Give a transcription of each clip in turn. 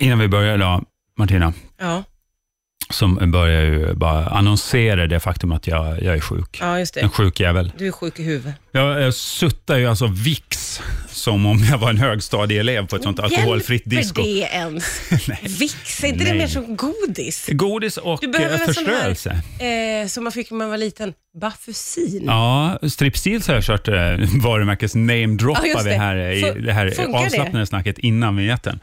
Innan vi börjar då, Martina, Ja, som börjar ju bara annonsera det faktum att jag, jag är sjuk. ja just En det. sjuk jävel. Du är sjuk i huvudet. Jag, jag suttar ju alltså VIX som om jag var en högstadieelev på ett sånt alkoholfritt disco. Hjälper det ens? Vicks, är inte Nej. det mer som godis? Godis och Du behöver eh, väl sån här- förstörelse. Eh, som man fick när man var liten. Bafusin. Ja, Stripsteels har jag kört eh, varumärkes Ja, namedroppade just det. här eh, i Fu- det här funkar det? Alltså, avslappnade snacket innan vinjetten.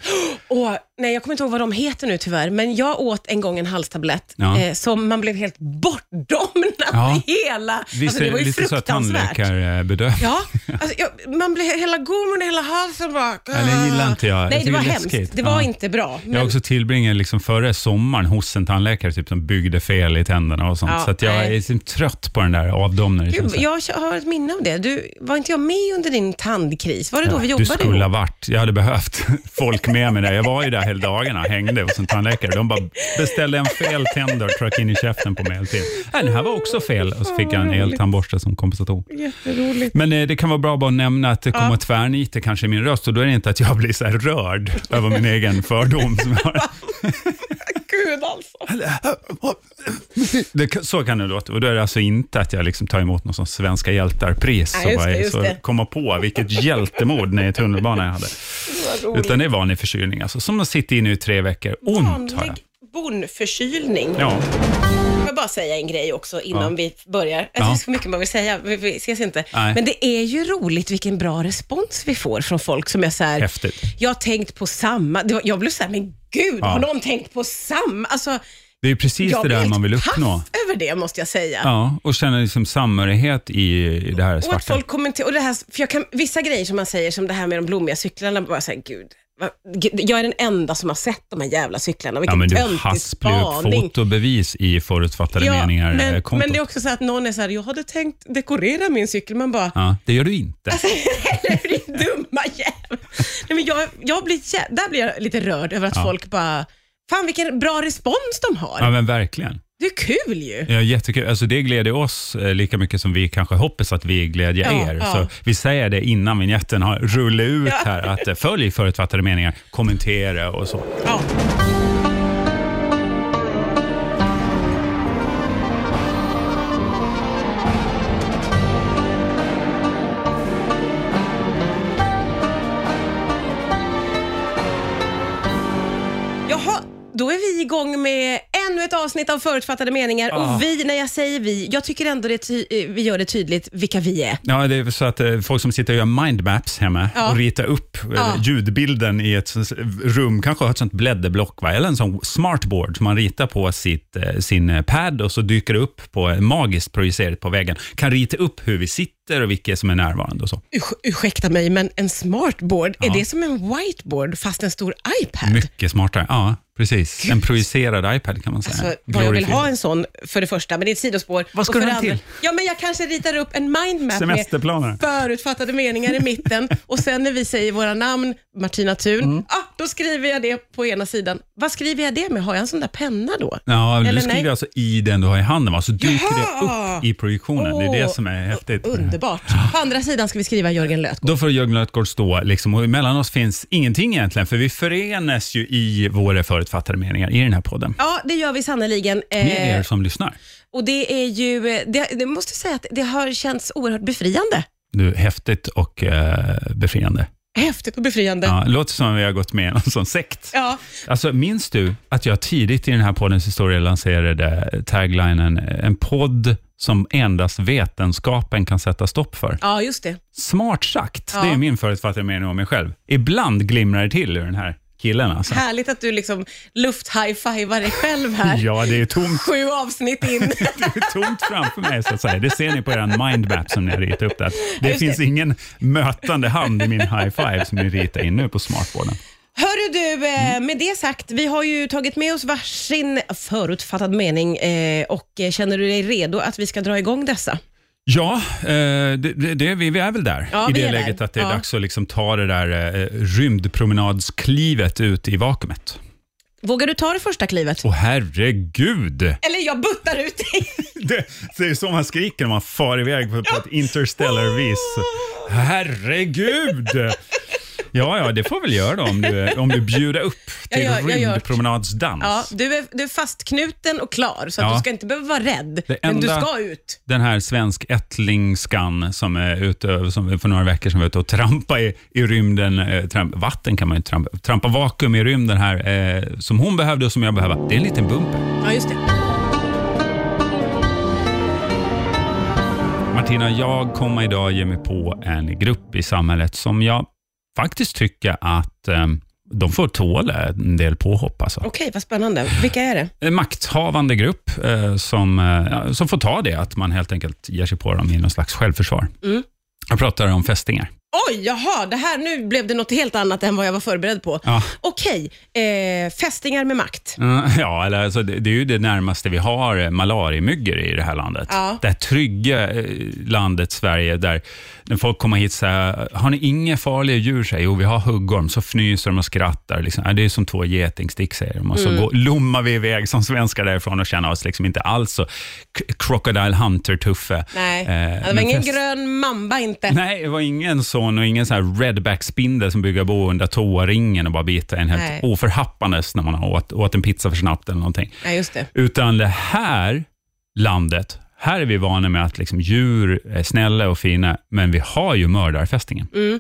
Åh, nej, jag kommer inte ihåg vad de heter nu tyvärr, men jag åt en gång en halstablett Ja. eh, som man blev helt bortdomnad Ja. i hela... Visst alltså, det var är det ju lite så att fruktansvärt. tandläkarbedövning? Ja, alltså, jag, man blev hela gormen i hela halsen bara... det gillar inte jag. Nej, Jag det var tycker det är hemskt. läskigt. Det var Ja. inte bra. Jag Men, också tillbringade liksom förra sommaren hos en tandläkare typ, som byggde fel i tänderna och sånt. Ja, så att jag nej. är liksom trött på den där avdomningen. Gud, känns det. jag har ett minne av det. Du, var inte jag med under din tandkris? Var det då vi du jobbade skulle ha ihop? varit. Jag hade behövt folk med mig där. Jag var ju där hela dagarna hängde hos en tandläkare. De bara beställde en fel tänder och tryckte in i käften på mig hela tiden. Äh, den här var också fel och så fick jag en eltandborste som kompensation. Jätteroligt. Men eh, det kan vara bra att bara nämna att det kommer tvärniter kanske i min röst och då är det inte att jag blir så här rörd över min egen fördom. Som jag har. Gud alltså. Det, kan- så kan det låta. Och då är det alltså inte att jag liksom tar emot någon sån svenska hjältarpris Nej, och just bara det, är just så det. komma på vilket hjältemod när i tunnelbanan jag hade. Utan det är vanlig förkylning alltså, som har suttit inne i tre veckor. Ont har jag. Vanlig bonförkylning. Ja, Jag vill bara säga en grej också innan Ja. vi börjar. Alltså, Ja. Det är så mycket man vill säga, vi, vi ses inte. Nej. Men det är ju roligt vilken bra respons vi får från folk som är så här, häftigt. jag har tänkt på samma. Det var, jag blev så här, men gud, Ja. har någon tänkt på samma? Alltså, Det är ju precis jag det blev där helt man vill paff uppnå. över det måste jag säga. Ja, och känna liksom samhörighet i i det här Och att svarta. folk kommenterar, och det här, för jag kan, vissa grejer som man säger, som det här med de blommiga cyklarna, bara såhär, gud, vad, gud, jag är den enda som har sett de här jävla cyklarna. Ja, Vilken men du töntig hasplar ju upp spaning. fotobevis i förutfattade meningar eh, men, kontot. men det är också så att någon är så här, jag hade tänkt dekorera min cykel, man bara, Ja, det gör du inte. Alltså- eller din dumma jävel. Nej, men jag, jag blir, jä- där blir jag lite rörd över att folk bara, fan vilken bra respons de har. Ja, men verkligen. Det är kul ju. Ja, jättekul. Alltså, det glädjer oss eh, lika mycket som vi kanske hoppas att vi glädjer Ja, er. ja. Så vi säger det innan vignetten har rullat ut Ja. här, att eh, följ förutfattade meningar, kommentera och så. Ja. Jaha, Då är vi igång med ännu ett avsnitt av Förutfattade meningar. Ah. Och vi, när jag säger vi, jag tycker ändå det ty- eh, vi gör det tydligt vilka vi är. Ja, det är så att eh, folk som sitter och gör mindmaps hemma Ja. och ritar upp eh, Ja. ljudbilden i ett sånt rum, kanske har ett sånt blädderblock, va? eller en sån smartboard som man ritar på sitt, eh, sin eh, pad och så dyker det upp på, eh, magiskt projicerat på väggen. Kan rita upp hur vi sitter och vilka som är närvarande och så. Urs- ursäkta mig, men en smartboard, Ja. är det som en whiteboard fast en stor iPad? Mycket smartare. Ja, precis. En projicerad iPad kan man säga. Alltså, vad jag vill Glorified. ha en sån för det första, men det är ett sidospår. Äh, Vad ska Och för du det ha den andra- till? Ja, men jag kanske ritar upp en mindmap med Semesterplaner. förutfattade meningar i mitten och sen när vi säger våra namn, Martina Thun, Mm. ah, då skriver jag det på ena sidan. Vad skriver jag det med? Har jag en sån där penna då? Ja, Eller du skriver nej? alltså i den du har i handen, va? så dyker det Jaha! upp i projektionen. Det är det som är häftigt. Ah. Underbart. På andra sidan ska vi skriva Jörgen Lötgård. Då får Jörgen Lötgård stå, liksom, och mellan oss finns ingenting egentligen, för vi förenas ju i våra förutfattade meningar i den här podden. Ja, det gör vi sannerligen. Med er Eh, som lyssnar. och det är ju, eh, det, det måste jag säga att det har känts oerhört befriande. Du, häftigt och eh, befriande. Häftigt och befriande. Ja, låter som att vi har gått med i någon sån sekt. ja. Alltså, minns du att jag tidigt i den här poddens historia lanserade taglinen eh, “En podd som endast vetenskapen kan sätta stopp för”? ja just det. Smart sagt, Ja. det är min förutfattade mening om mig själv. Ibland glimrar det till ur den här killen alltså. Härligt att du liksom luft-high-fivar dig själv här. Ja, det är tomt, Sju avsnitt in. det är tomt framför mig så att säga. Det ser ni på er mindmap som ni har ritat upp där. Det Just det. finns ingen mötande hand i min high five som ni ritar in nu på smartboarden. Hörru du, eh, med det sagt, vi har ju tagit med oss varsin förutfattad mening eh, och eh, känner du dig redo att vi ska dra igång dessa? Ja, eh, det, det, det, vi, vi är väl där Ja, i vi det är läget där. att det är Ja. dags att liksom ta det där eh, rymdpromenadsklivet ut i vakuumet. Vågar du ta det första klivet? Åh herregud! Eller jag buttar ut dig. Det, det är så man skriker när man far iväg på, på ett interstellar vis. Herregud! Ja, ja, det får väl göra då om du, eh, om du bjuder upp Jag till gör- jag gör. rymdpromenadsdans. Ja, du, är, du är fastknuten och klar, så att Ja. du ska inte behöva vara rädd. Det Men du enda- ska ut. Den här svensk ättlingskan som är ute, som för några veckor sedan var ute och trampa i, i rymden. Eh, tramp, vatten kan man ju inte trampa. Trampa vakuum i rymden här, eh, som hon behövde och som jag behöver. Det är en liten bumper. Ja, just det. Martina, jag kommer idag ge mig på en grupp i samhället som jag faktiskt tycker att eh, de får tåla en del påhopp. Alltså. Okej, vad spännande. Vilka är det? en makthavande grupp eh, som, eh, ja, som får ta det, att man helt enkelt ger sig på dem i någon slags självförsvar. Mm. Jag pratar om fästingar. Oj, jaha, det här, nu blev det något helt annat än vad jag var förberedd på. Ja, Okej, eh, fästingar med makt. eh, ja eller, alltså, det, det är ju det närmaste vi har eh, malariamyggor i det här landet. Ja. Det här trygga eh, landet Sverige, där när folk kommer hit och säger, har ni inga farliga djur? Säger, jo, vi har huggorm. Så fnyser de och skrattar. Liksom. "Ja, Det är som två getingstick, säger de. Och så Mm. går, lommar vi iväg som svenskar därifrån och känner oss liksom inte alls så k- crocodile hunter-tuffe. Nej, Eh, det var men ingen fäst- grön mamba inte. Nej, det var ingen sån och ingen sån här redback-spindel som bygger bo under toaringen och bara biter en helt Nej. oförhappandes när man har åt, åt en pizza för snabbt eller någonting. Nej, just det. Utan det här landet, här är vi vana med att liksom djur är snälla och fina, men vi har ju mördarfästingen. Mm.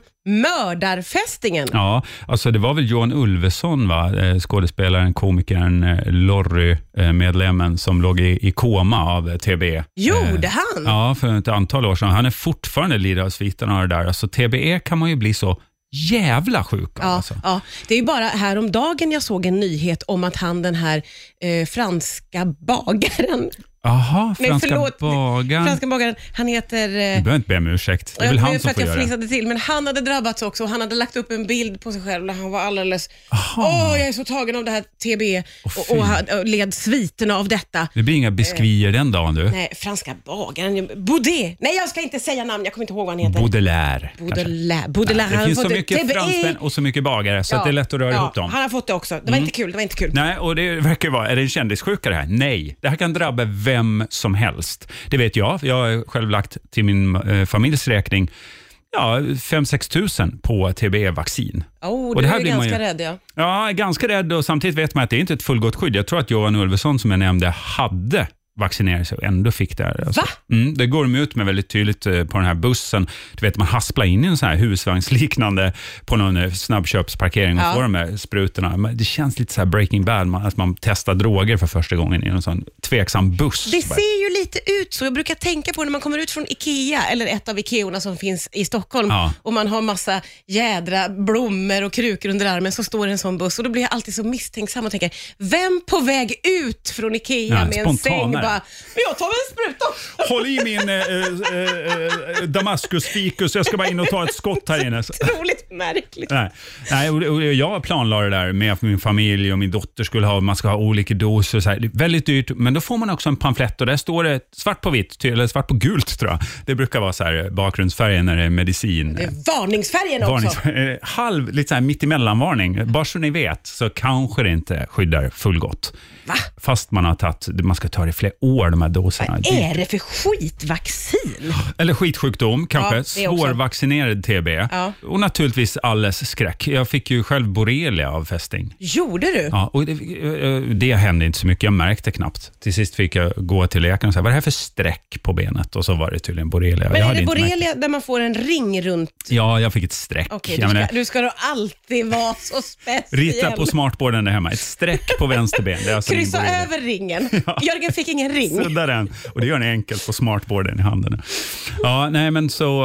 Mördarfästingen. Ja, alltså det var väl Johan Ulveson, va? Eh, skådespelaren, komikern, eh, Lorry-medlemmen som låg i, i koma av eh, TB. Gjorde han? Ja, för ett antal år sedan. Han är fortfarande lider av sviterna av det där. Alltså, TBE kan man ju bli så jävla sjuk av. Ja, Alltså. ja. Det är ju bara häromdagen jag såg en nyhet om att han den här eh, franska bagaren, Jaha, Nej, franska förlåt. bagaren. franska bagaren, han heter... Du Eh, behöver inte be om ursäkt. Det är väl jag- han för som att får jag göra det. fnissade till, men han hade drabbats också och han hade lagt upp en bild på sig själv där han var alldeles... Åh, Aha. jag är så tagen av det här TBE Åh, och, fy. och, han- och led sviterna av detta. Det blir inga biskvier den dagen du. Nej, franska bagaren, Baudet. Nej, jag ska inte säga namn, jag kommer inte ihåg vad han heter. Baudelaire. kanske. Baudelaire. Baudelaire. Det han finns har så fått mycket TBE. fransmän och så mycket bagare, så E. Ja, att det är lätt att röra ja, ihop dem. Mm. Han har fått det också. Det var inte kul. Det var inte kul. Nej, och det verkar ju vara, är det en kändissjuka det här? Nej, det här kan drabba vem som helst. Det vet jag, för jag har själv lagt till min eh, familjs räkning ja, 5-6 tusen på TBE-vaccin. Oh, Och du det är här blir man ganska ju- rädd ja. Ja, ganska rädd och samtidigt vet man att det är inte ett fullgott skydd. Jag tror att Johan Ulveson som jag nämnde hade vaccinerat sig och ändå fick det här. Alltså. Va? Mm, det går de ut med väldigt tydligt eh, på den här bussen. Du vet, man hasplar in i en sån här husvagnsliknande på någon eh, snabbköpsparkering och Ja. får de här sprutorna. Men det känns lite så här Breaking Bad, man, att man testar droger för första gången i någon sån tveksam buss. Det ser ju lite ut så. Jag brukar tänka på när man kommer ut från IKEA, eller ett av IKEOrna som finns i Stockholm, Ja. och man har massa jädra blommor och krukor under armen, så står det en sån buss och då blir jag alltid så misstänksam och tänker, vem på väg ut från IKEA Ja, med spontanare. en säng bara, "Men jag tar väl en spruta. Håll i min eh, eh, eh, Damaskus-fikus, jag ska bara in och ta ett skott här inne. Otroligt märkligt. Nej, Nej och, och jag planlade det där med min familj och min dotter skulle ha, man ska ha olika doser. och Så här. Det är väldigt dyrt, men då får man också en pamflett och där står det svart på vitt, ty- eller svart på gult tror jag. Det brukar vara så här eh, bakgrundsfärgen när det är medicin. Det är varningsfärgen också. Varnings- eh, halv, lite så här mittemellan-varning. Bara så ni vet så kanske det inte skyddar fullgott. Va? Fast man har tagit, man ska ta det i flera år, de här doserna. Vad Det- är det för skitvaccin? eller skitsjukdom, kanske. Ja, det också. Svårvaccinerad TB. Ja. Och naturligtvis alles skräck. Jag fick ju själv borrelia av fästing. Gjorde du? Ja, och det, eh, det hände inte så mycket, jag märkte knappt. Till sist fick jag gå till läkaren och säga, vad är det här för streck på benet? Och så var det tydligen borrelia. jag Men är hade det inte märkt- borrelia där man får en ring runt? Ja, jag fick ett streck. Okej, Jag du, menar, ska, du ska då alltid vara så speciell. Rita på smartboarden där hemma, ett streck på vänster ben. Det är alltså din Kryssa borrelia. över ringen. Jörgen fick ingen ring. Sudda den. Och det gör ni enkelt på smartboarden i handen. nu. Ja, nej, men så,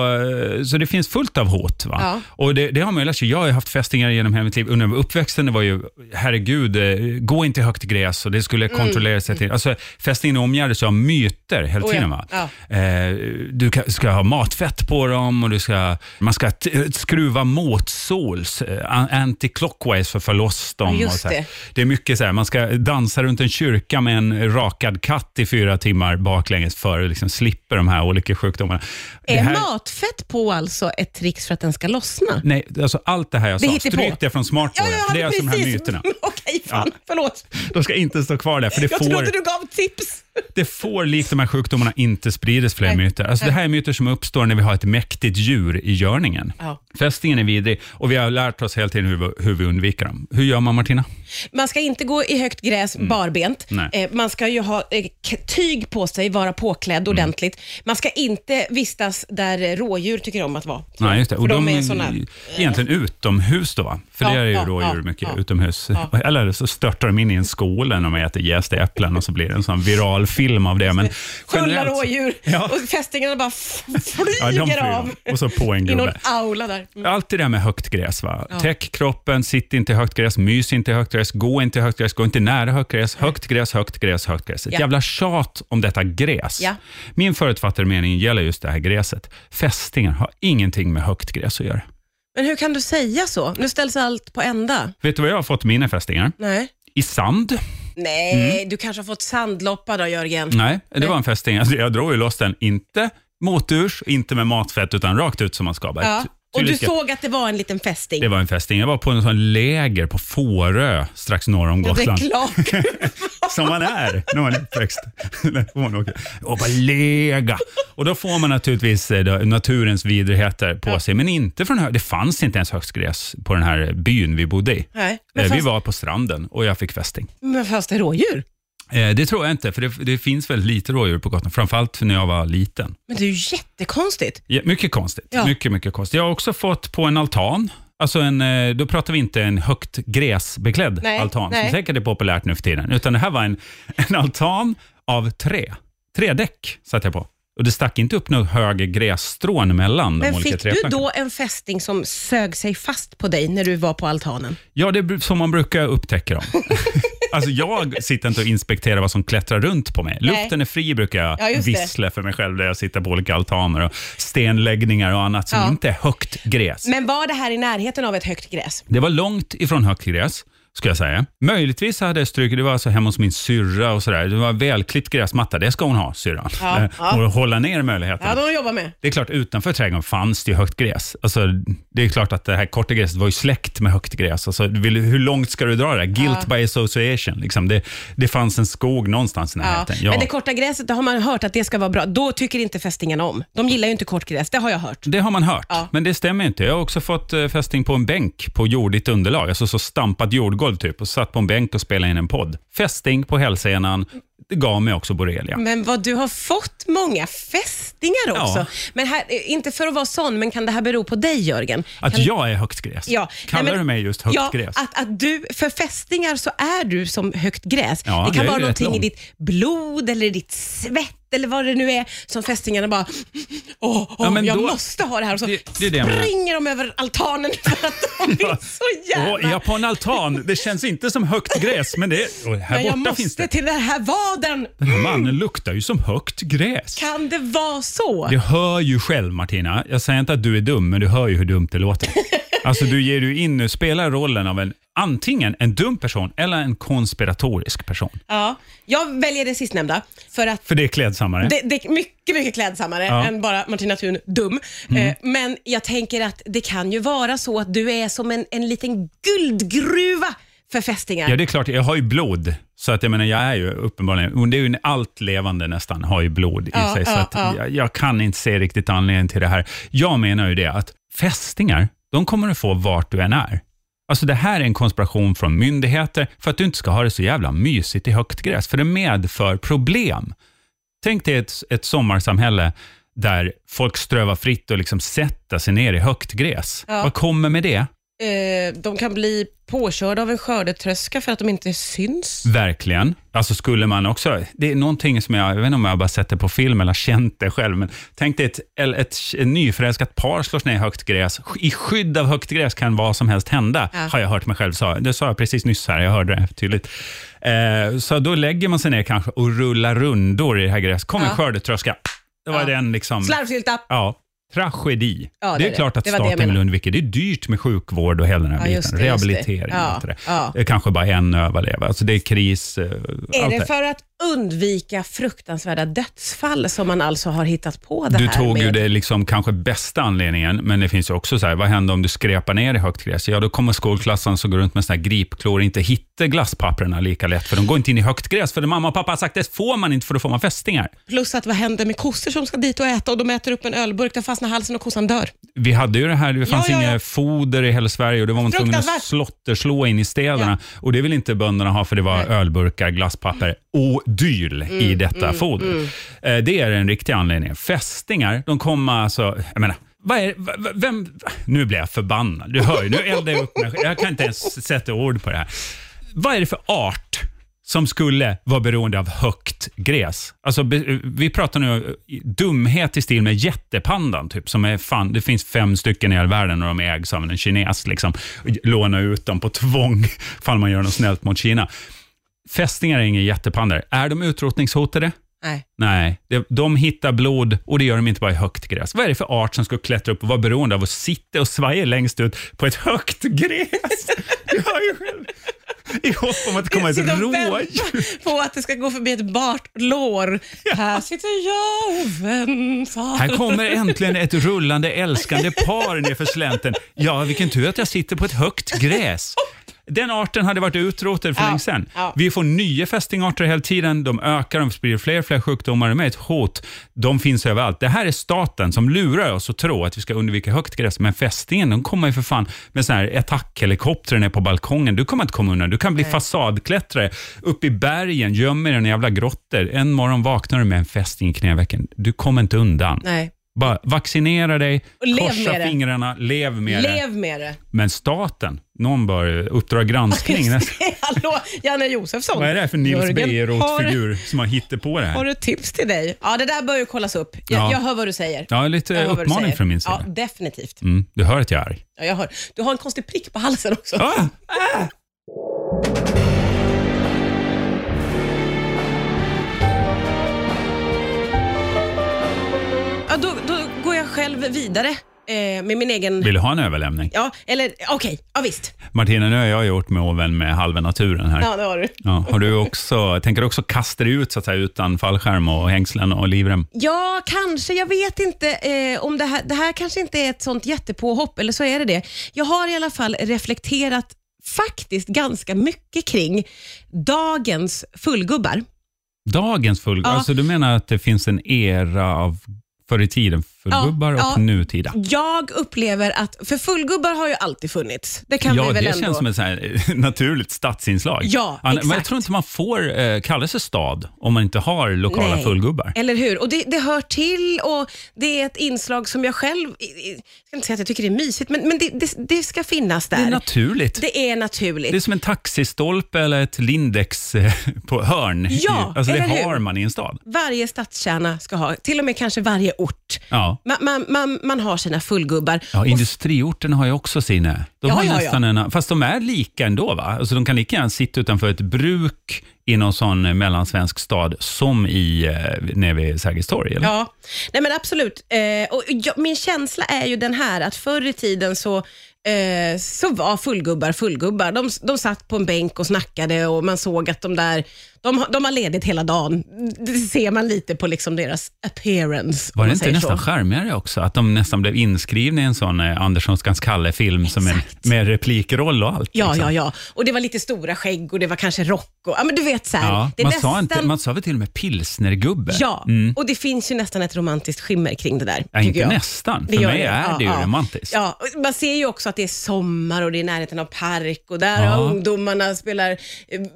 eh, så det finns fullt av hot. Va? Ja. Och det, det har man ju lärt sig. Jag har ju haft fästingar genom hela mitt liv. Under uppväxten det var ju, herregud, eh, gå inte i högt gräs och det skulle kontrolleras. Mm. Alltså, fästingen omgärdades ju av myter hela Oh ja, tiden. Va? Eh, du ka- ska ha matfett på dem och du ska, man ska t- skruva motsåls, eh, an- anti-clockwise för att få loss dem. Ja, just och så här. det. Det är mycket så här, man ska dansa runt en kyrka med en rakad katt i fyra timmar baklänges för att liksom slippa de här olika sjukdomarna. Det Är här, matfett på alltså ett trix för att den ska lossna? nej, alltså allt det här jag Det sa, hittar på. stryk det från smartboarden. för det är alltså de här myterna. Okej, fan. Förlåt. De ska inte stå kvar där, för det Jag får... trodde du gav tips. Det får likt de här sjukdomarna inte spridas fler Nej. myter. Alltså, det här är myter som uppstår när vi har ett mäktigt djur i görningen. Ja. Fästingen är vidrig och vi har lärt oss hela tiden hur vi, hur vi undviker dem. Hur gör man Martina? Man ska inte gå i högt gräs barbent. Mm. Nej. Eh, man ska ju ha eh, k- tyg på sig, vara påklädd Mm. ordentligt. Man ska inte vistas där eh, rådjur tycker om att vara. Så- Nej, just det. För de, är såna... eh, Egentligen utomhus då, va? För Ja, det är ju ja, rådjur ja, mycket ja. utomhus. Eller så störtar de in i en skål när de äter jästa äpplen och så blir det en sån viral film av det. Men Fulla generellt- rådjur Ja. och fästingarna bara f- Ja, flyger, de flyger av. Och så på en I någon gubbe. aula där. Mm. Allt det där med högt gräs. Va? Täck kroppen, sitt inte i högt gräs, mys inte i högt gräs, gå inte i högt gräs, gå inte nära högt gräs. Högt gräs, högt gräs, högt gräs. Ett Ja. jävla tjat om detta gräs. Ja. Min förutfattade mening gäller just det här gräset. Fästingar har ingenting med högt gräs att göra. Men hur kan du säga så? Nu ställs allt på ända. Vet du vad jag har fått mina fästingar? Nej. I sand? Nej, Mm. du kanske har fått sandloppar då Jörgen. Nej, det var en fästing. Alltså, jag drog ju loss den, inte moturs, inte med matfett, utan rakt ut som man ska. Bara Ja. ty- Och du tydligt- såg att det var en liten fästing. Det var en fästing. Jag var på en sån läger på Fårö, strax norr om Ja, det är Gotland. klart. som man är när man är uppväxt. När man åker. och bara lega. Och då får man naturligtvis eh, då, naturens vidrigheter på sig, men inte från hö- Det fanns inte ens högt gräs på den här byn vi bodde i. Nej, Eh, men, Vi fast, var på stranden och jag fick fästing. men fast det är rådjur. Eh, Det tror jag inte, för det, det finns väldigt lite rådjur på Gotland, framförallt när jag var liten. Men det är ju jättekonstigt. Ja, mycket konstigt. Ja. Mycket, mycket konstigt. Jag har också fått på en altan, alltså en, eh, då pratar vi inte en högt gräsbeklädd Nej, altan, nej. som säkert är populärt nu för tiden, utan det här var en, en altan av trä. Trädäck satte jag på. Och det stack inte upp några höga grässtrån mellan de Men olika fick du träplankorna. då en fästing som sög sig fast på dig när du var på altanen? Ja, det är som man brukar upptäcka dem. alltså jag sitter inte och inspekterar vad som klättrar runt på mig. Nej. Luften är fri brukar jag Ja, just det. vissla för mig själv där jag sitter på olika altaner och stenläggningar och annat som Ja. inte är högt gräs. Men var det här i närheten av ett högt gräs? Det var långt ifrån högt gräs, ska jag säga. Möjligtvis hade jag stryk, det var alltså hemma hos min syrra och sådär. Det var välklippt gräsmatta, det ska hon ha, syrran. Ja, Eh, ja. Och hålla ner möjligheten. Ja, de har jobbat med. Det är klart, utanför trädgården fanns det ju högt gräs. Alltså, det är klart att det här korta gräset var ju släkt med högt gräs. Alltså, du vill, hur långt ska du dra det? där? Guilt by association. Liksom. Det, det fanns en skog någonstans i Ja. närheten. Ja. Men det korta gräset, då har man hört att det ska vara bra. Då tycker inte fästingarna om. De gillar ju inte kort gräs, det har jag hört. Det har man hört, Ja. men det stämmer inte. Jag har också fått eh, fästing på en bänk på jordigt underlag, alltså så stampat jordgolv typ, och satt på en bänk och spelade in en podd. Fästing på hälsenan, det gav mig också borrelia. Men vad du har fått många fästingar också. Ja. Men här, eh, inte för att vara sån, men kan det här bero på dig Jörgen? Att Kan- jag är högt gräs. Ja. Kallar Nej, men- du mig just högt ja, gräs? Att, att du, för fästingar så är du som högt gräs. Ja, det jag kan är vara rätt någonting lång. i ditt blod eller i ditt svett eller vad det nu är som fästingarna bara, åh, åh Ja, men jag då- måste ha det här. Och så Det- det är det jag menar. springer de över altanen för att de vill så gärna. Åh, är jag på en altan? Det känns inte som högt gräs, men det är, och men här jag borta måste finns det. till den här vaden. Den här mannen luktar ju som högt gräs. Kan det vara så? Du hör ju själv Martina, jag säger inte att du är dum, men du hör ju hur dumt det låter. Alltså du ger ju in, nu spelar rollen av en, antingen en dum person eller en konspiratorisk person. Ja, jag väljer det sistnämnda för att För det är klädsammare. Det, det är mycket, mycket klädsammare Ja. Mm. än bara Martina Thun dum. Eh, men jag tänker att det kan ju vara så att du är som en, en liten guldgruva för fästingar. Ja, det är klart, jag har ju blod. Så att jag menar, jag är ju uppenbarligen, och det är ju en- allt levande nästan har ju blod i Ja, sig. Så ja, att ja. jag, jag kan inte se riktigt anledningen till det här. Jag menar ju det att fästingar, de kommer du få vart du än är. Alltså det här är en konspiration från myndigheter för att du inte ska ha det så jävla mysigt i högt gräs, för det medför problem. Tänk dig ett, ett sommarsamhälle där folk strövar fritt och liksom sätter sig ner i högt gräs. Ja. Vad kommer med det? Eh, de kan bli påkörda av en skördetröska för att de inte syns. Mm. Verkligen. Alltså skulle man också, det är någonting som jag, jag vet inte om jag bara sett det på film eller känt det själv, men tänk dig ett, ett, ett, ett nyförälskat par slås ner i högt gräs. I skydd av högt gräs kan vad som helst hända, Ja. har jag hört mig själv säga. Det sa jag precis nyss här, jag hörde det tydligt. Eh, så då lägger man sig ner kanske och rullar rundor i det här gräset. Kommer Ja. en skördetrörska. Det var Ja. den liksom... Slarvsylta! Ja, tragedi. Ja, det det, är är det. klart att Det var det jag staten vill menade. undvika. Det är dyrt med sjukvård och hela den här Ja, biten. just det, just det. Rehabilitering Ja, och allt det. där. ja. Det är Kanske bara en överlever. Alltså det är kris. eh, Är allt det för att undvika fruktansvärda dödsfall som man alltså har hittat på det Du här tog med. ju det liksom kanske bästa anledningen, men det finns ju också så här, vad händer om du skräpar ner i högt gräs? Ja, då kommer skolklassen som går runt med såna här gripklor och inte hittar glasspapperna lika lätt, för de går inte in i högt gräs, för det mamma och pappa har sagt, det får man inte för då får man fästingar. Plus att vad händer med kossor som ska dit och äta och de äter upp en ölburk, den fastnar i halsen och kossan dör. Vi hade ju det här, det fanns Ja, ja, ja. inget foder i hela Sverige och det var man tvungen att Fruktansvärt. slotterslå in i städerna. Och det vill inte bönderna ha för det var ölburkar, glasspapper och dyl Mm, i detta foder. Eh, Det är den riktiga anledningen. Fästingar, de kommer alltså, jag menar, vad är, v- v- vem, nu blir jag förbannad. Du hör ju, nu eldar jag upp mig. Jag kan inte ens sätta ord på det här. Vad är det för art som skulle vara beroende av högt gräs. Alltså, be- vi pratar nu eh, dumhet i stil med jättepandan, typ, som är fan, det finns fem stycken i hela världen och de ägs av en kines. Liksom. Låna ut dem på tvång, fall man gör något snällt mot Kina. Fästingar är inga jättepandor. Är de utrotningshotade? Nej. Nej, det- de hittar blod och det gör de inte bara i högt gräs. Vad är det för art som ska klättra upp och vara beroende av att sitta och svaja längst ut på ett högt gräs? Du hör ju själv. I hopp om att det kommer ett Sitta och rådjur. vänta på att det ska gå förbi ett bart lår. Här sitter jag och väntar. Här kommer äntligen ett rullande älskande par nerför slänten. Ja, vilken tur att jag sitter på ett högt gräs. Den arten hade varit utrotad för Ja, länge sedan. ja. Vi får nya fästingarter hela tiden. De ökar, de sprider fler och fler sjukdomar. De är ett hot. De finns överallt. Det här är staten som lurar oss att tro att vi ska undvika högt gräs. Men fästingen, de kommer ju för fan med sån här attackhelikopter ner på balkongen. Du kommer inte komma undan. Du kan bli fasadklättrare. Upp i bergen, göm dig i en jävla grottor. En morgon vaknar du med en fästing i knävecken. Du kommer inte undan. Nej. Bara vaccinera dig, Och lev korsa med det. fingrarna, lev med det. Lev med det. Men staten, någon bör ju uppdra granskning. nästan. Hallå, Janne Josefsson. Vad är det här för Nils Jörgen, har, Bejerot-figur som har hittat på det har här? du tips till dig? Ja, det där bör ju kollas upp. Jag, Ja. jag hör vad du säger. Ja, lite Jag hör vad du uppmaning säger. från min Ja, sida. definitivt. Mm, du hör att jag är arg. Ja, jag hör. Du har en konstig prick på halsen också. Ah! Ja, då, då går jag själv vidare eh, med min egen... Vill du ha en överlämning? Ja, eller okej. Ja, visst. Martina, nu har jag gjort mig oven med halva naturen här. Ja, det har du. Ja, har du också, tänker du också kasta dig ut så att säga, utan fallskärm och hängslen och livrem? Ja, kanske. Jag vet inte eh, om det här, det här kanske inte är ett sånt jättepåhopp, eller så är det det. Jag har i alla fall reflekterat faktiskt ganska mycket kring dagens fullgubbar. Dagens full... Ja. Alltså du menar att det finns en era av förr i tiden fullgubbar Ja, ja. och nutida? Jag upplever att, för fullgubbar har ju alltid funnits. Det kan Ja, vi det väl ändå... känns som ett så här eh, naturligt stadsinslag. Ja, Anna- Men jag exakt. tror inte man får eh, kalla sig stad om man inte har lokala Nej. fullgubbar. Eller hur? Och det, det hör till och det är ett inslag som jag själv, i- i- jag ska inte säga att jag tycker det är mysigt, men, men det, det, det ska finnas där. Det är naturligt. Det... Det är naturligt. är som en taxistolpe eller ett Lindex eh, på hörn. i- Ja, alltså, det eller hur? har man i en stad. Varje stadskärna ska ha, till och med kanske varje ort. Ja. Man, man, man, man har sina fullgubbar. Ja, industriorterna har ju också sina. De Ja, har ja, nästan En, fast de är lika ändå, va? Alltså, de kan lika gärna sitta utanför ett bruk i någon sån eh, mellansvensk stad som i, eh, nere vid Sergels torg. Eller? Ja, nej men absolut. Eh, och jag, min känsla är ju den här att förr i tiden så, eh, så var fullgubbar fullgubbar. De, de satt på en bänk och snackade och man såg att de där, de, har- de har ledigt hela dagen. Det ser man lite på liksom deras appearance. om Var man det inte säger nästan så. charmigare också? Att de nästan blev inskrivna i en sån eh, Anderssonskans Kalle-film som en, Exakt. med replikroll och allt. Ja, liksom. ja, ja. Och det var lite stora skägg och det var kanske rock och, ja men du vet så här. Ja, det är man, nästan, sa inte, man sa väl till och med pilsnergubbe? Ja, och det finns ju nästan ett romantiskt skimmer kring det där. Mm. Ja, tycker inte jag. nästan. För gör mig är det ju Ja, ja. romantiskt. Ja, och man ser ju också att det är sommar och det är i närheten av park och där Ja. har ungdomarna spelar eh,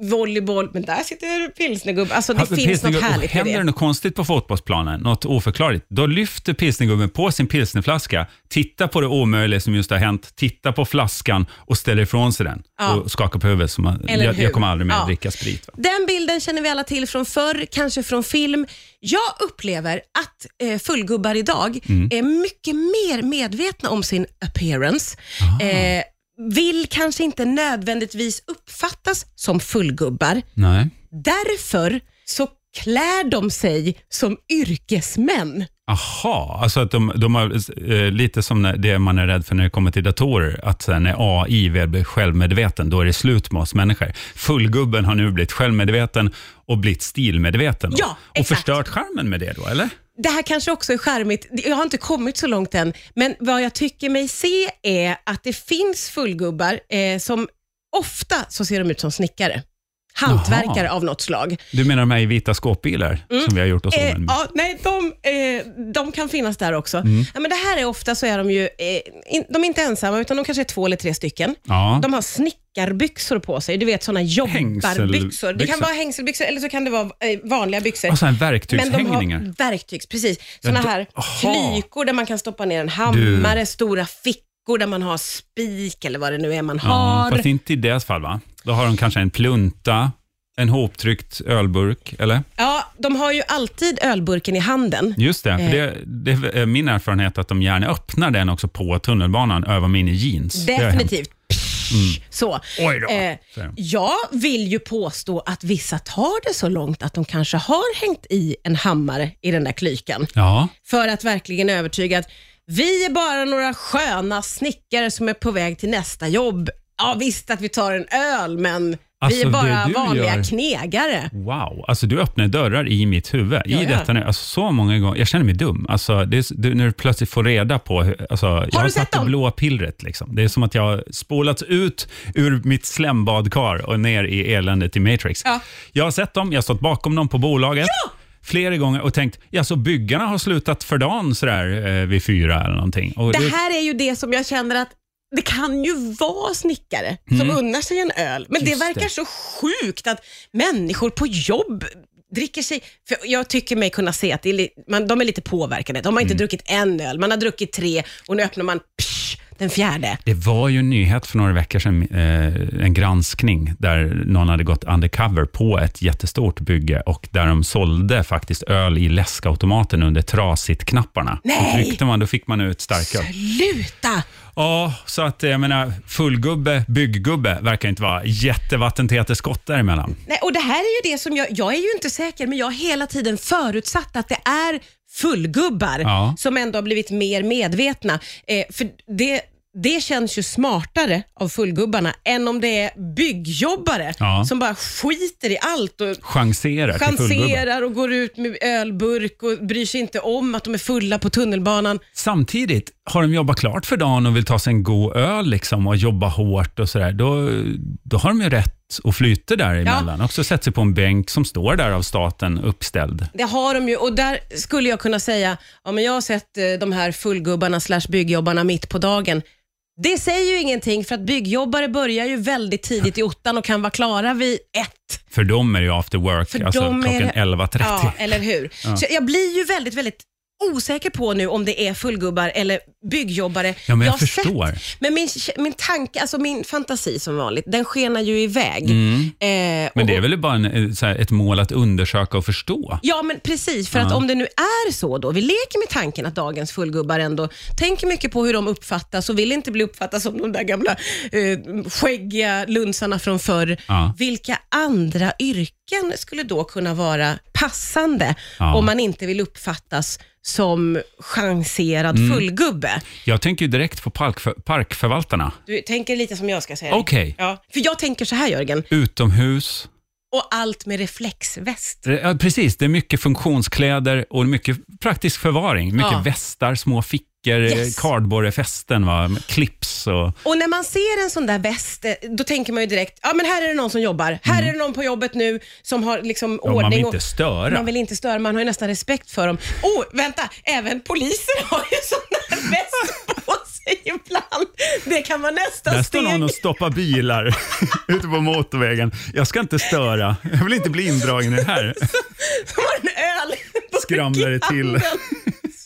volleyboll, men där sitter pilsnergubben. Alltså det Alltså, finns något pilsnergubben- härligt i Händer det det. något konstigt på fotbollsplanen, något oförklarligt, då lyfter pilsnergubben på sin pilsnerflaska, tittar på det omöjliga som just har hänt, tittar på flaskan och ställer ifrån sig den Ja. och skakar på huvudet. Som man, Eller jag, jag hur? kommer aldrig mer Ja. dricka sprit. Va? Den bilden känner vi alla till från förr, kanske från film. Jag upplever att eh, fullgubbar idag Mm. är mycket mer medvetna om sin appearance. Ah. Eh, vill kanske inte nödvändigtvis uppfattas som fullgubbar. Nej. Därför så klär de sig som yrkesmän. Aha, alltså att de, de har, eh, lite som när- det man är rädd för när det kommer till datorer, att sen när AI väl blir självmedveten, då är det slut med oss människor. Fullgubben har nu blivit självmedveten och blivit stilmedveten. då. Ja, och exakt. förstört charmen med det då, eller? Det här kanske också är charmigt. Jag har inte kommit så långt än, men vad jag tycker mig se är att det finns fullgubbar eh, som ofta så ser de ut som snickare. Hantverkare av något slag. Du menar de här i vita skåpbilar som vi har gjort oss Eh, av med? ja, nej, de, eh, de kan finnas där också. Ja, men det här är ofta så är de ju, eh, in, de är inte ensamma, utan de kanske är två eller tre stycken. Ja. De har snickarbyxor på sig, du vet sådana jobbarbyxor. Det Hängselbyxor. kan vara hängselbyxor eller så kan det vara eh, vanliga byxor. Och sen men de verktygshängningar. har verktygs, precis. Såna då- här aha. klykor där man kan stoppa ner en hammare, stora fickor där man har spik eller vad det nu är man Ja, har. fast inte i deras fall, va? Då har de kanske en plunta, en hoptryckt ölburk, eller? Ja, de har ju alltid ölburken i handen. Just det, för Eh. det, det är min erfarenhet att de gärna öppnar den också på tunnelbanan över min jeans. Det har hänt. Mm. Definitivt. Psh, Så. Oj då, Eh, säger de. jag vill ju påstå att vissa tar det så långt att de kanske har hängt i en hammare i den där klykan. Ja, För att verkligen övertyga att vi är bara några sköna snickare som är på väg till nästa jobb. Ja visst att vi tar en öl, men vi Alltså, är det bara du vanliga gör- knegare. wow. Alltså du öppnar dörrar i mitt huvud. Ja, I ja. detta nu, alltså, så många gånger. Jag känner mig dum. Alltså, det är, s- du, när du plötsligt får reda på... hur- Alltså, har jag har du sett satt det dem? blåa pillret. Liksom. Det är som att jag har spolats ut ur mitt slembadkar och ner i eländet i Matrix. Ja. Jag har sett dem, jag har stått bakom dem på bolaget. flera gånger och tänkt, ja så byggarna har slutat för dagen sådär eh, vid fyra eller någonting. Och Det här är ju det som jag känner att det kan ju vara snickare som unnar sig en öl, men Mm. Just det verkar det. så sjukt att människor på jobb dricker sig... För jag tycker mig kunna se att det är li, man, de är lite påverkade. De har Mm. inte druckit en öl, man har druckit tre och nu öppnar man psh, den fjärde. Det var ju en nyhet för några veckor sedan, eh, en granskning där någon hade gått undercover på ett jättestort bygge och där de sålde faktiskt öl i läskautomaten under trasigt-knapparna. Nej! Och Tryckte man, då fick man ut starköl. Sluta! Ja, så att eh, jag menar, fullgubbe, bygggubbe verkar inte vara jättevattentäta skott däremellan. Nej, och det här är ju det som jag, jag är ju inte säker, men jag har hela tiden förutsatt att det är fullgubbar Ja. som ändå har blivit mer medvetna. Eh, för det, det känns ju smartare av fullgubbarna än om det är byggjobbare Ja. som bara skiter i allt och Chanserar till fullgubbe. chanserar och går ut med ölburk och bryr sig inte om att de är fulla på tunnelbanan. Samtidigt, har de jobbat klart för dagen och vill ta sig en god öl liksom och jobba hårt och sådär, då, då har de ju rätt att flyta däremellan. Också sätta sig på en bänk som står där av staten uppställd. Det har de ju och där skulle jag kunna säga, ja, men jag har sett eh, de här fullgubbarna slash byggjobbarna mitt på dagen. Det säger ju ingenting för att byggjobbare börjar ju väldigt tidigt i ottan och kan vara klara vid ett. För dem är det ju after work, För alltså dem är klockan det- 11.30. Ja, eller hur? Så jag blir ju väldigt, väldigt osäker på nu om det är fullgubbar eller byggjobbare. Ja, men jag har sett. förstår. Men min, min tanke, alltså min fantasi som vanligt, den skenar ju iväg. Mm. Eh, Men och- det är väl bara en, eh, så här, ett mål att undersöka och förstå. Ja, men precis. För att om det nu är så då, vi leker med tanken att dagens fullgubbar ändå tänker mycket på hur de uppfattas och vill inte bli uppfattas som de där gamla eh, skäggiga lunsarna från förr. Ja. Vilka andra yrken skulle då kunna vara passande Ja. om man inte vill uppfattas som chanserad Mm. fullgubbe? Jag tänker ju direkt på parkför, parkförvaltarna. Du tänker lite som jag ska säga. Okej, Ja, för jag tänker så här Jörgen, utomhus. och allt med reflexväst. Ja, precis, det är mycket funktionskläder och mycket praktisk förvaring. Mycket Ja. västar, små fickor, Yes. kardborrefästen, va? med clips och... Och när man ser en sån där väst, eh, då tänker man ju direkt, ja men här är det någon som jobbar. Här är det någon på jobbet nu som har liksom Mm. Ja, ordning. man vill inte och- störa. Man vill inte störa, man har ju nästan respekt för dem. Oh, vänta, även poliser har ju såna här väst på sig ibland. Det kan vara nästa Där står steg. någon och stoppar bilar ute på motorvägen. Jag ska inte störa. Jag vill inte bli indragen i det här. Som har en öl på Skramlar det till. handen.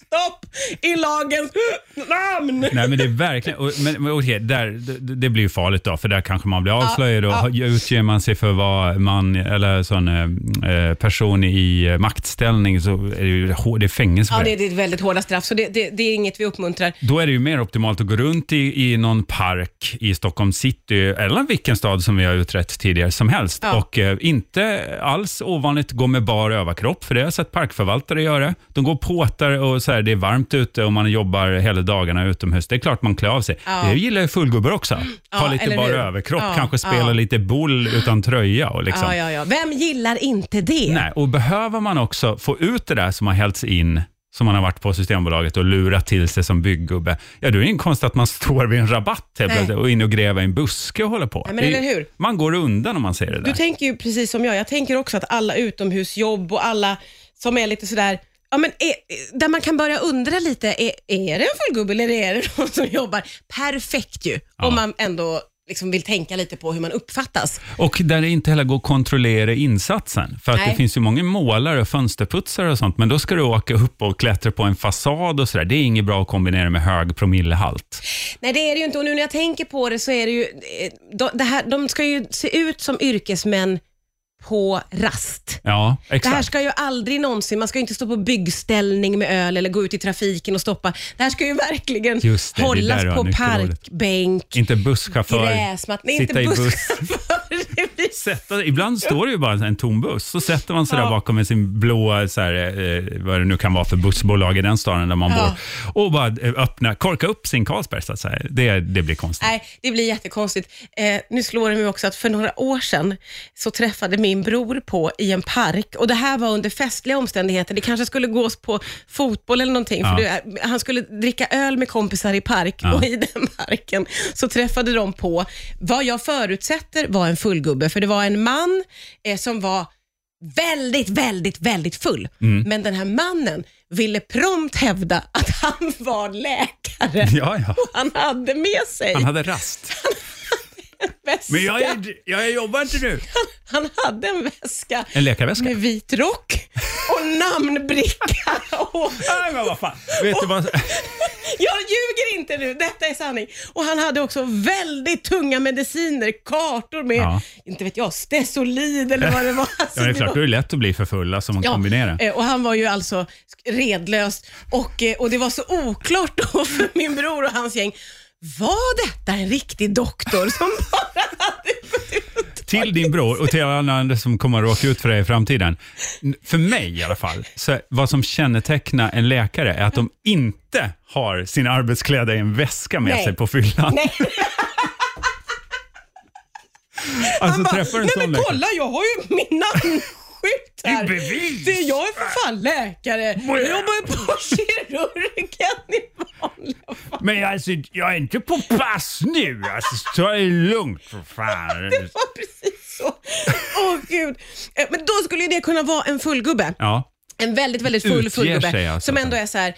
Stopp! i lagens namn. Nej, men det är verkligen... och- Men, men okej, där, det, det blir ju farligt då, för där kanske man blir avslöjad och utger man sig för vad man, eller sån eh, person i eh, maktställning, så är det ju hår- det är fängelse för Ja, det. det är ett väldigt hårda straff, så det, det, det är inget vi uppmuntrar. Då är det ju mer optimalt att gå runt i, i någon park i Stockholm city, eller vilken stad som vi har utrett tidigare som helst. Ja. Och eh, inte alls ovanligt gå med bar överkropp, för det har jag sett parkförvaltare göra. De går och påtar och så här, det är varmt ute och man jobbar hela dagarna utomhus. Det är klart man klär av sig. Det gillar ju fullgubbar också. Ja, ha lite eller bar hur? överkropp, Ja, kanske spela ja. lite boll utan tröja. Och liksom. Ja, ja, ja. Vem gillar inte det? Nej, och behöver man också få ut det där som har hällts in, som man har varit på Systembolaget och lurat till sig som byggubbe, ja då är det ingen konst att man står vid en rabatt helt Nej. plötsligt och in och gräver i en buske och håller på. Nej, men Det är- eller hur? Man går undan om man ser det Du där. tänker ju precis som jag. Jag tänker också att alla utomhusjobb och alla som är lite sådär, ja, men är, där man kan börja undra lite, är, är det en fullgubbe eller är det någon som jobbar? Perfekt ju, om man ändå liksom vill tänka lite på hur man uppfattas. Och där det inte heller går att kontrollera insatsen. För att Nej. det finns ju många målare och fönsterputsare och sånt, men då ska du åka upp och klättra på en fasad och sådär. Det är inget bra att kombinera med hög promillehalt. Nej, det är det ju inte. Och nu när jag tänker på det så är det ju, eh, de, det här, de ska ju se ut som yrkesmän på rast. Ja, Det här exakt. ska ju aldrig någonsin, man ska ju inte stå på byggställning med öl eller gå ut i trafiken och stoppa. Det här ska ju verkligen Just det, det hållas där var på nyckelordet. parkbänk, Inte busschaufför, gräsmatta. Nej, sitta i inte buss. busschaufför. Det blir så- sätta, ibland står det ju bara en tom buss, så sätter man sig där Ja. bakom med sin blå, så här, eh, vad det nu kan vara för bussbolag i den staden där man Ja. bor, och bara eh, öppna, korka upp sin Carlsberg så att säga. Det, det blir konstigt. Nej, det blir jättekonstigt. Eh, nu slår det mig också att för några år sedan så träffade min bror på i en park och det här var under festliga omständigheter. Det kanske skulle gås på fotboll eller någonting. För Ja. det, han skulle dricka öl med kompisar i park och i den parken så träffade de på vad jag förutsätter var en fullgubbe. För det var en man eh, som var väldigt, väldigt, väldigt full. Mm. Men den här mannen ville prompt hävda att han var läkare. Ja, ja. Han hade med sig Han hade rast. väska. Men jag, är, jag jobbar inte nu. Han hade en väska En läkarväska. med vit rock och namnbricka. Och, Nej, men vad fan. Vet du vad? jag ljuger inte nu, detta är sanning. Och han hade också väldigt tunga mediciner, kartor med, Ja. inte vet jag, stesolid eller vad det var. Alltså, Ja, det är det klart, var- då är det lätt att bli för fulla som man Ja, kombinerar. eh, och han var ju alltså redlös och, eh, och det var så oklart då för min bror och hans gäng. Var detta en riktig doktor som bara hade Till din bror och till alla andra som kommer att råka ut för det i framtiden. N- För mig i alla fall, så vad som kännetecknar en läkare är att de inte har sina arbetskläder i en väska med Nej. sig på fyllan. Nej. Alltså bara, träffar du en Nej sån men läkare. kolla, jag har ju min namnskylt Det här. är bevis. Det är jag är för fan läkare. Jag jobbar ju på kirurgen i vanliga fall. Men alltså, jag är inte på pass nu. Alltså, ta det lugnt för fan. Det var precis så. Åh gud. Eh, Men då skulle ju det kunna vara en fullgubbe. Ja, En väldigt, väldigt full Utger sig fullgubbe alltså. som ändå är så här.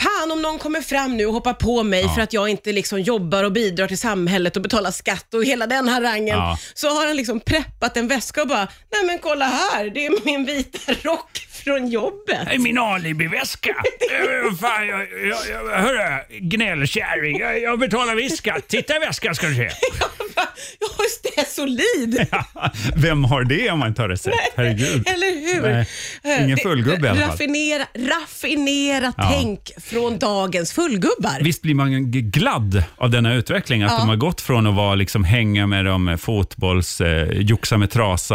Fan om någon kommer fram nu och hoppar på mig för att jag inte liksom jobbar och bidrar till samhället och betalar skatt och hela den harangen. Ja. Så har han liksom preppat en väska och bara, nej men kolla här, det är min vita rock från jobbet. Det är min alibiväska. Eh, Fan, jag, jag, jag, hörru, gnällkärring. Jag, jag betalar viss skatt. Titta i väskan ska du se. Jag bara, jag har ju stesolid. Vem har det om man inte har recept? Herregud. Eller hur? Nej, Eh, ingen det- fullgubbe i alla fall. Raffinera, raffinera Ja. tänk från dagens fullgubbar. Visst blir man g- glad av denna utveckling? Att de har gått från att vara liksom, hänga med de fotbolls, eh, joxa med